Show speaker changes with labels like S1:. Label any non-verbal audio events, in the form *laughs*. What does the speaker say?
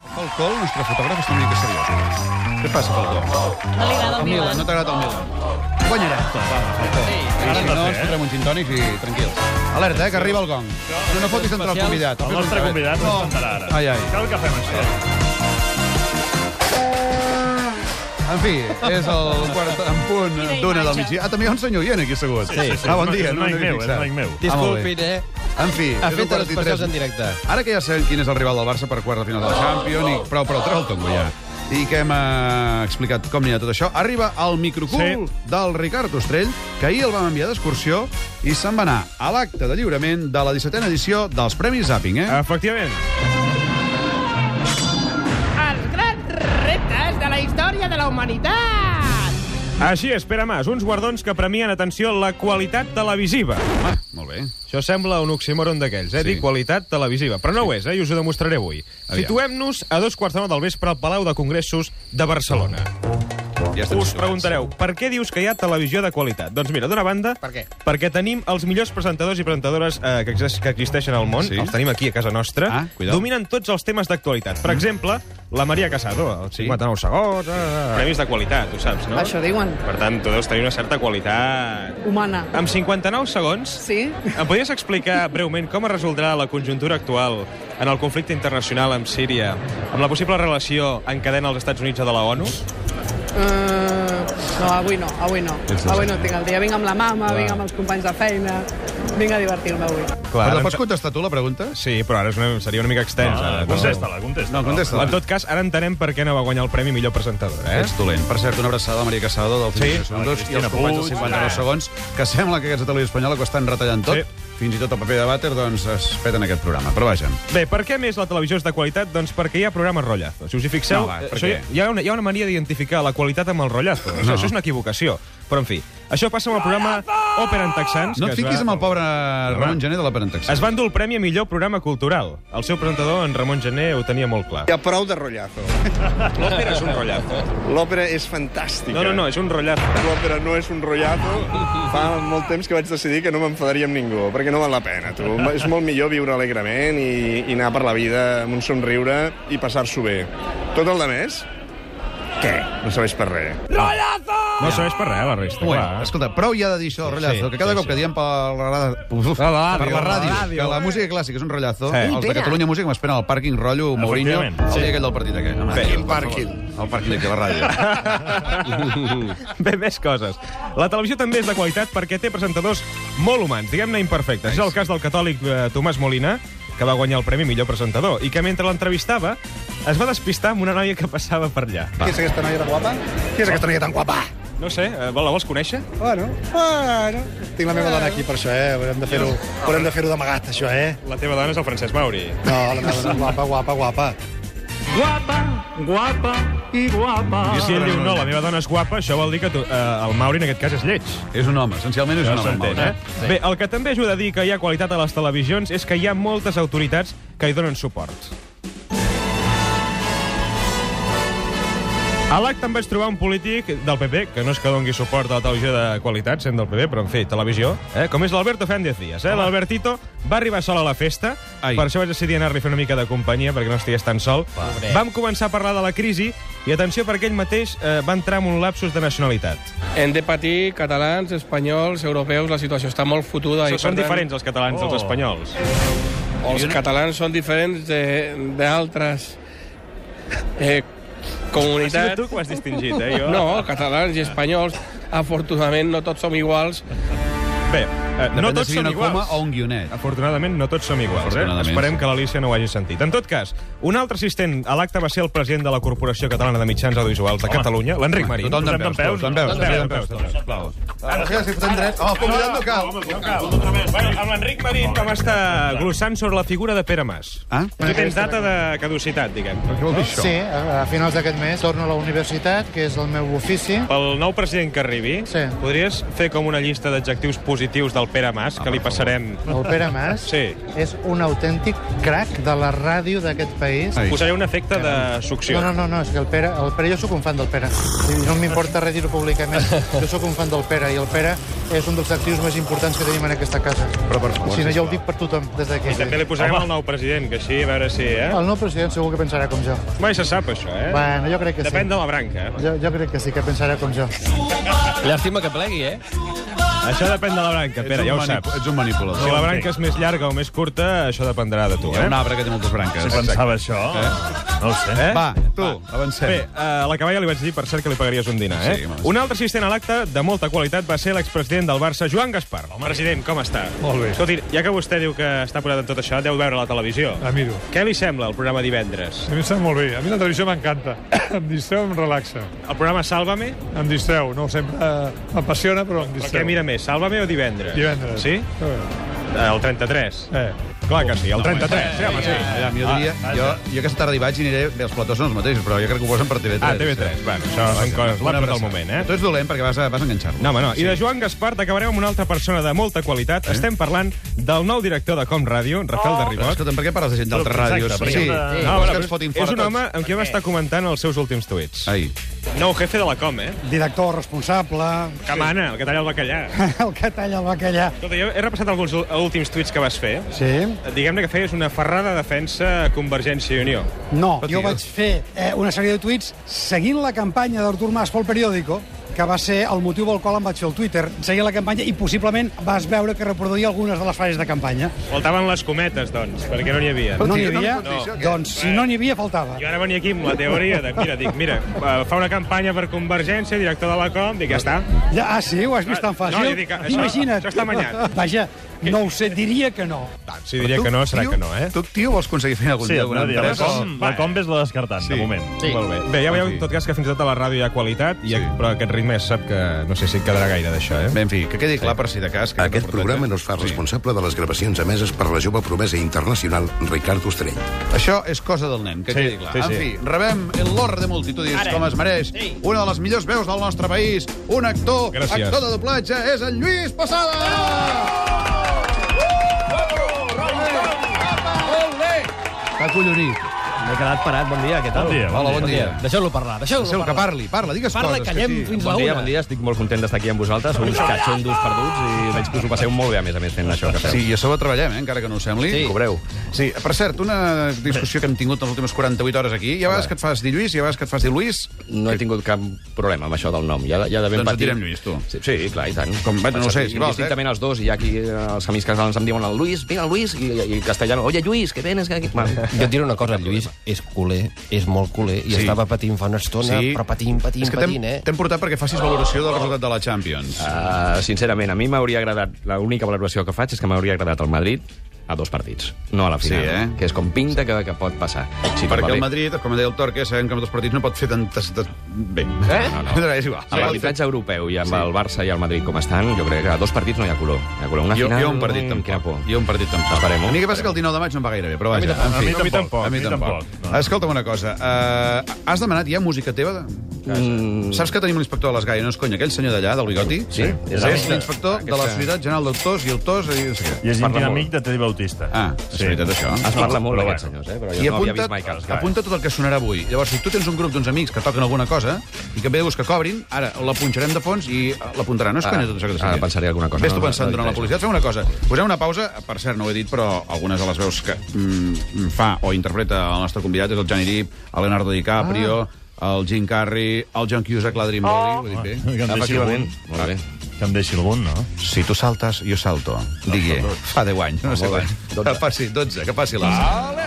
S1: el Col, el nostre fotògraf, està una mica seriós. eh? Què passa, Falcó?
S2: No li agrada
S3: doncs,
S1: El
S2: el
S1: Milan,
S2: Milan.
S1: no t'ha agradat el Milan. Guanyarà. Va, Falcó. Sí,
S4: ara
S1: si no, ens
S4: no sé, eh?
S1: fotrem uns gintònics i tranquils. Alerta, eh, que arriba el gong. No, no fotis entrar el convidat.
S4: El nostre convidat no. s'espantarà ara.
S1: Ai, ai.
S4: Cal que fem això.
S1: En fi, és el quart en punt
S2: Quina
S1: d'una del
S2: imatge.
S1: migdia. Ah, també hi ha un senyor Ien aquí assegut.
S4: sí, sí.
S1: Ah, bon dia.
S4: És un
S1: no, no
S4: amic
S1: m'he
S4: meu, és un
S1: fixat.
S4: amic
S1: Ah,
S4: meu.
S1: molt bé.
S5: Disculpin, eh?
S1: En fi,
S5: Ha
S1: és un
S5: fet
S1: quart
S5: els
S1: i
S5: parcials
S1: tres.
S5: en directe.
S1: Ara que ja sabem quin és el rival del Barça per quart de final de la Champions, i prou, prou, treu el tongo ja. I que hem eh, explicat com anirà tot això. Arriba el microcul
S4: Sí.
S1: del Ricard Ostrell, que ahir el vam enviar d'excursió i se'n va anar a l'acte de lliurament de la 17a edició dels Premis Zapping,
S4: Ah.
S1: eh?
S4: Efectivament.
S3: Els grans reptes de la història de la humanitat!
S4: Així és, Pere Mas, uns guardons que premien, atenció, la qualitat televisiva.
S1: Ah, molt bé.
S4: Això sembla un oxímoron d'aquells, eh?
S1: Sí.
S4: Sí. Dir qualitat televisiva. Però no sí. ho és, eh? I us ho demostraré avui.
S1: Aviam.
S4: Situem-nos a dos quarts de nou del vespre al Palau de Congressos de Barcelona.
S1: Ja estem
S4: Us
S1: situats.
S4: preguntareu, per què dius que hi ha televisió de qualitat? Doncs mira, d'una banda...
S5: Per què?
S4: Perquè tenim els millors presentadors i presentadores eh, que, exis- que existeixen al món.
S1: Sí.
S4: Els tenim aquí, a casa nostra.
S1: Ah, cuidao.
S4: dominen tots els temes d'actualitat. Per exemple, la Maria Casado, els
S1: Sí.
S4: 59 segons... Eh, premis de qualitat, ho saps, no?
S6: Això diuen.
S4: Per tant, tu deus tenir una certa qualitat.
S6: Humana.
S4: Amb 59 segons,
S6: Sí?
S4: em podries explicar breument com es resoldrà la conjuntura actual en el conflicte internacional amb Síria, amb la possible relació en cadena als Estats Units o de la ONU?
S6: Uh, no, avui no, avui no. Avui no tinc el dia. Vinc amb la mama, vinc amb els companys de feina. Vinc a divertir-me avui.
S1: Però la
S4: ara
S1: pots
S4: ens-
S1: contestar tu, la pregunta?
S4: Sí, però ara és una, seria una mica extens. eh? Doncs ara, no?
S7: Contesta-la, contesta.
S1: No, contesta.
S4: En tot cas, ara entenem per què no va guanyar el Premi Millor Presentador, eh?
S1: Ets dolent. Per cert, una abraçada a la Maria Casado del
S4: Sí.
S1: 52 Segundos
S4: Ah.
S1: i
S7: Cristina
S1: els companys dels
S7: Puig.
S1: 52 segons, que sembla que aquests de televisió espanyola que ho estan retallant tot.
S4: Sí.
S1: Fins i tot el paper de vàter, doncs, es peta en aquest programa. Però vaja.
S4: Bé, per què més la televisió és de qualitat? Doncs perquè hi ha programes rotllazos. Si us hi fixeu,
S1: No, va, per
S4: eh, això,
S1: què?
S4: hi, ha una, hi ha una mania d'identificar la qualitat amb el rotllazo. No. Això és una equivocació. Però, en fi, això passa amb el programa Òpera en Texans.
S1: No
S4: que
S1: et
S4: es va-
S1: fiquis amb el pobre Ramon Gené de la Parentaxa.
S4: Es va endur el Premi a Millor Programa Cultural. El seu presentador, en Ramon Gené, ho tenia molt clar.
S8: Hi ha prou de rotllazo.
S4: L'òpera és un rotllazo.
S8: L'òpera és fantàstica.
S4: No, no, no, és un rotllazo.
S8: L'òpera no és un rotllazo. Fa molt temps que vaig decidir que no m'enfadaria amb ningú, perquè no val la pena, tu. És molt millor viure alegrement i, i anar per la vida amb un somriure i passar-s'ho bé. Tot el de més, què? No serveix per res.
S4: No serveix per res, la resta,
S1: Bueno,
S4: clar.
S1: escolta, prou ja de dir això, del
S4: sí,
S1: rotllazo, que cada
S4: sí,
S1: cop
S4: sí.
S1: que diem per la, rada- Uf,
S4: Per la ràdio,
S1: per la
S4: per la
S1: ràdio,
S4: ràdio.
S1: que la música clàssica és un rotllazo,
S4: Sí.
S1: els de Catalunya Música m'esperen al pàrquing rotllo Mourinho, el
S4: Efectivament, sí.
S1: dia aquell del partit aquell. Home,
S8: Quin
S1: per
S8: pàrquing?
S1: favor. El pàrquing d'aquí a la ràdio.
S4: *laughs* Bé, més coses. La televisió també és de qualitat perquè té presentadors molt humans, diguem-ne imperfectes. És el cas del catòlic eh, Tomàs Molina, que va guanyar el Premi Millor Presentador, i que mentre l'entrevistava es va despistar amb una noia que passava per allà.
S8: Qui és aquesta noia tan guapa? Qui és aquesta noia tan guapa?
S4: No sé, eh, vol- la vols conèixer?
S8: Bueno, bueno. Tinc la meva dona aquí per això, eh? Haurem de fer-ho haurem de fer d'amagat, això, eh?
S4: La teva dona és el Francesc Mauri.
S8: No, la meva dona guapa, guapa, guapa. Ah.
S4: I si ell diu, no, la meva dona és guapa, això vol dir que tu, eh, el Mauri en aquest cas és lleig.
S1: *laughs* És un home, essencialment és
S4: Ja
S1: un home.
S4: s'entén,
S1: el
S4: eh?
S1: Mauri.
S4: Bé, el que també ajuda a dir que hi ha qualitat a les televisions és que hi ha moltes autoritats que hi donen suport. A l'acte em vaig trobar un polític del PP, que no és que dongui suport a la televisió de qualitat, sent del PP, però en fi, televisió, eh? com és l'Alberto Fernández Díaz. Eh? L'Albertito va arribar sol a la festa,
S1: Ai.
S4: Ai. per això vaig decidir anar-li a fer una mica de companyia, perquè no estigués tan sol.
S5: Pobret.
S4: Vam començar a parlar de la crisi, i atenció, perquè ell mateix eh, va entrar en un lapsus de nacionalitat.
S9: Hem de patir catalans, espanyols, europeus, la situació està molt fotuda. i,
S4: Són
S9: per tant,
S4: diferents els catalans dels espanyols.
S9: Els catalans són diferents de- d'altres eh,
S4: Has sigut
S9: comunitats.
S4: tu que ho has distingit, eh, jo?
S9: No, catalans i espanyols, afortunadament, no tots som iguals.
S4: Bé, eh,
S1: Depèn
S4: no
S1: de
S4: tots
S1: si
S4: som
S1: una coma
S4: iguals.
S1: o un guionet.
S4: Afortunadament, no tots som iguals, eh?
S1: Afortunadament,
S4: Esperem
S1: sí.
S4: que l'Alícia no ho hagi sentit. En tot cas, un altre assistent a l'acte va ser el president de la Corporació Catalana de Mitjans Audiovisuals de Catalunya, l'Enric Marín.
S1: Tothom d'en
S4: Posem
S1: peus, tots d'en peus, tots d'en peus, tots, sisplau. Ara, si fotem dret... Home, el convidat no cal.
S4: Bueno, amb l'Enric Marín vam estar glossant sobre la figura de Pere Mas.
S1: Ah?
S4: Tu tens data de caducitat, diguem.
S1: Què vol dir això?
S10: Sí, a a finals d'aquest mes torno a la universitat, que és el meu ofici.
S4: Pel nou president que arribi,
S10: Sí.
S4: podries fer com una llista d'adjectius positius del el Pere Mas,
S1: Ah,
S4: que li passarem...
S10: El Pere Mas
S4: Sí.
S10: és un autèntic crac de la ràdio d'aquest país.
S1: Ai.
S4: Posaré un efecte de succió.
S10: No, no, no, no, és que el Pere, el Pere jo sóc un fan del Pere. I no m'importa res dir-ho públicament. Jo sóc un fan del Pere i el Pere és un dels actius més importants que tenim en aquesta casa.
S1: Però per favor,
S10: si no, jo ho dic per tothom, des d'aquí.
S4: També li posarem el nou president, que així, a veure si... Eh?
S10: El nou president segur que pensarà com jo.
S4: Mai se sap, això, eh?
S10: Bueno, jo crec que sí.
S4: Depèn de la branca. eh?
S10: Jo, jo crec que sí que pensarà com jo.
S9: Llàstima que plegui, eh?
S4: Això depèn de la branca, Pere, ja ho saps.
S1: Ets un manipulador.
S4: Si la branca és més llarga o més curta, això dependrà de tu,
S1: Hi ha
S4: eh?
S1: un arbre que té moltes branques.
S2: Si pensava això... No ho sé.
S4: Eh?
S1: Va, tu, avancem.
S4: Bé, eh, a la cavalla li vaig dir, per cert, que li pagaries un dinar, eh?
S1: Sí, home, sí.
S4: un altre assistent a l'acte de molta qualitat va ser l'expresident del Barça, Joan Gaspar. Home. President, com està?
S2: Molt bé.
S4: Escolti, ja que vostè diu que està posat en tot això, deu veure la televisió.
S2: La miro.
S4: Què li sembla el programa divendres?
S2: A mi em sembla molt bé. A mi la televisió m'encanta. *coughs* em distreu, em relaxa.
S4: El programa Sálvame?
S2: Em distreu. No sempre eh, m'apassiona, però em
S4: Però
S2: distreu.
S4: què mira més, Sálvame o divendres?
S2: Divendres.
S4: Sí?
S2: Eh.
S4: El 33.
S2: eh.
S4: Clar que sí, el 33. Sí, home, sí.
S1: Allà,
S4: Ah,
S1: jo, diria, jo, jo aquesta tarda hi vaig i aniré... Bé, els platós són els mateixos, però jo crec que ho posen per TV3.
S4: Ah, TV3. Bueno, això són coses
S1: Una
S4: l'altre del
S1: abraçada.
S4: moment, eh?
S1: Tu ets dolent perquè vas, a, vas a enganxar-lo.
S4: No, home, no. I de Joan Gaspar acabarem amb una altra persona de molta qualitat. Estem parlant del nou director de Com Ràdio, Rafael de
S1: Però,
S4: Ribot.
S1: escolta'm, per què parles de gent d'altres
S2: Però, exacte,
S1: ràdios?
S2: perquè
S1: sí.
S2: una-
S1: sí.
S4: No,
S1: No,
S4: però
S1: que ens fotin
S4: és
S1: fora
S4: un home
S1: tots.
S4: amb qui va estar comentant els seus últims tuits.
S1: Ai,
S4: Nou jefe de la com, eh?
S5: Director responsable, *laughs*
S4: Que mana, el que talla el bacallà.
S5: el que talla el bacallà.
S4: Escolta, jo he repassat alguns ú- últims tuits que vas fer.
S5: Sí?
S4: Diguem-ne que feies una ferrada defensa a Convergència i Unió.
S5: No,
S1: Però,
S5: jo
S1: tio.
S5: vaig fer eh, una sèrie de tuits seguint la campanya d'Artur Mas pel periòdico, que va ser el motiu pel qual em vaig fer el Twitter. Seguia la campanya i possiblement vas veure que reproduïa algunes de les frases de campanya.
S4: Faltaven les cometes, doncs, perquè no n'hi havia.
S5: No n'hi
S1: tio, no
S5: havia?
S1: em fotis això, què?
S5: Doncs si no n'hi havia, faltava.
S4: Jo ara venia aquí amb la teoria de, mira, dic, mira, eh, fa una campanya per Convergència, director de la Com, dic, ja està.
S5: Ja, ah, sí? Ho has vist tan fàcil?
S4: No, jo dic, això-
S5: Imagina't.
S4: això està amanyat.
S5: Vaja, no ho sé, diria que no.
S4: Si diria que no, serà que no, eh?
S1: Tu, tio, vols aconseguir fer algun
S2: Sí,
S1: dia
S2: algun
S1: alguna
S2: dia. La
S1: empresa?
S2: com, la com ves la descartant,
S1: Sí.
S2: de moment.
S4: Sí. Molt bé. Bé, ja veieu, en tot cas, que fins i tot a la ràdio hi ha qualitat, i,
S1: Sí.
S4: però aquest ritme ja sap que no sé si et quedarà gaire d'això, eh?
S1: Bé, en fi, que quedi clar per si de cas. Que
S7: Aquest programa no es fa responsable de les gravacions emeses per la jove promesa internacional Ricard Ostrell.
S1: Això és cosa del nen, que
S4: Sí,
S1: quedi clar.
S4: sí, sí.
S1: En fi, rebem el l'or de multituds,
S3: Ara.
S1: com es mereix.
S3: Sí.
S1: Una de les millors veus del nostre país, un actor,
S4: Gràcies.
S1: actor de doblatge, és en Lluís Passada! eh! Està collonit.
S11: M'he quedat parat. Bon dia, què tal?
S2: Bon dia, bon
S1: Hola, bon dia.
S11: Deixeu-lo parlar, deixeu-lo
S1: Seu, que
S11: parlar.
S1: parli, parla, digues
S11: Parla,
S1: coses.
S11: callem
S1: que sí.
S11: fins
S1: Bon
S11: la
S1: dia,
S11: una.
S1: bon dia.
S11: dia, estic molt content d'estar aquí amb vosaltres. Sou uns catxondos perduts i veig que us ho passeu molt bé, a més a més, fent això que
S1: Sí, i a sobre treballem, eh, encara que no ho sembli.
S11: Sí. Cobreu.
S1: Sí, per cert, una discussió que hem tingut en les últimes 48 hores aquí. Hi ha vegades que et fas dir Lluís, hi ha vegades que et fas dir Luís.
S11: No he tingut cap problema amb això del nom. Ja, ja de ben
S1: Doncs et
S11: petit...
S1: direm Lluís, tu.
S11: Sí, sí, clar, i tant.
S1: Com, bueno, no ho sé, si vols, eh?
S11: Distintament els dos, i hi ha aquí eh, els amics catalans em diuen el Lluís, mira el Lluís, i, i castellano, oye Lluís, que venes aquí. Jo et diré una cosa, el Lluís és culer, és molt culer, i
S1: Sí. estava
S11: patint fa una estona,
S1: És que t'hem- T'hem portat perquè facis valoració del resultat de la Champions.
S11: Uh, sincerament, a mi m'hauria agradat... L'única valoració que faig és que m'hauria agradat el Madrid a dos partits, no a la
S1: Sí,
S11: final,
S1: eh?
S11: que és com pinta que, que pot passar. Sí, que
S1: Perquè el
S11: valent-
S1: Madrid, com deia el Torque, sabem que amb dos partits no pot fer tantes... De... Bé, eh? *laughs*
S11: No, no.
S1: és igual.
S11: Amb l'arbitratge europeu i amb el Barça i el Madrid com estan, jo crec que a dos partits no hi ha color. Hi ha color. Una
S1: Jo,
S11: final,
S1: jo un partit
S11: mm,
S1: tampoc.
S11: Quina por.
S1: Jo un partit tampoc.
S11: Esperem-ho.
S1: a mi que passa que el 19 de maig no em va gaire bé, però vaja. en fi.
S2: A mi tampoc,
S1: A mi tampoc. Escolta'm una cosa. Uh, has demanat ja música teva? Mm. Saps que tenim l'inspector de les Gaia, no és conya, aquell senyor d'allà, del bigoti?
S11: Sí,
S1: És
S11: aquesta-
S1: l'inspector de la
S11: aquesta-
S1: Societat General d'Autors i Autors... I... no sé què.
S2: I és
S11: Parla
S2: íntim
S11: molt.
S2: amic de Teddy Bautista.
S1: Ah, és veritat, això.
S11: Es parla molt
S2: Però
S11: d'aquests
S2: bueno.
S11: senyors, eh? però
S1: I
S11: jo no havia
S1: apunta,
S11: vist mai que els
S1: apunta tot el que sonarà avui. Llavors, si tu tens un grup d'uns amics que toquen alguna cosa i que veus que cobrin, ara la punxarem de fons i la puntarà. No és
S11: Ah,
S1: conya tot això que t'he
S11: ara
S1: sentit.
S11: pensaré alguna cosa.
S1: Ves tu
S11: No, no,
S1: pensant
S11: no, no,
S1: durant la
S11: no.
S1: publicitat. Fem una cosa. Posem una pausa. Per cert, no ho he dit, però algunes de les veus que mm, fa o interpreta el nostre convidat és el Johnny Depp, el Leonardo DiCaprio, el Jim Carrey, el John Cusack, l'Adri Brody, ho he dit bé?
S2: Que em deixi algun,
S11: Molt bé.
S2: que em deixi algun, no?
S1: Si tu saltes, jo salto. Digui, fa 10 anys, no sé
S11: Doncs Ah, molt bé.
S1: quan.
S11: Dotze.
S1: Que passi, 12, que passi l'any.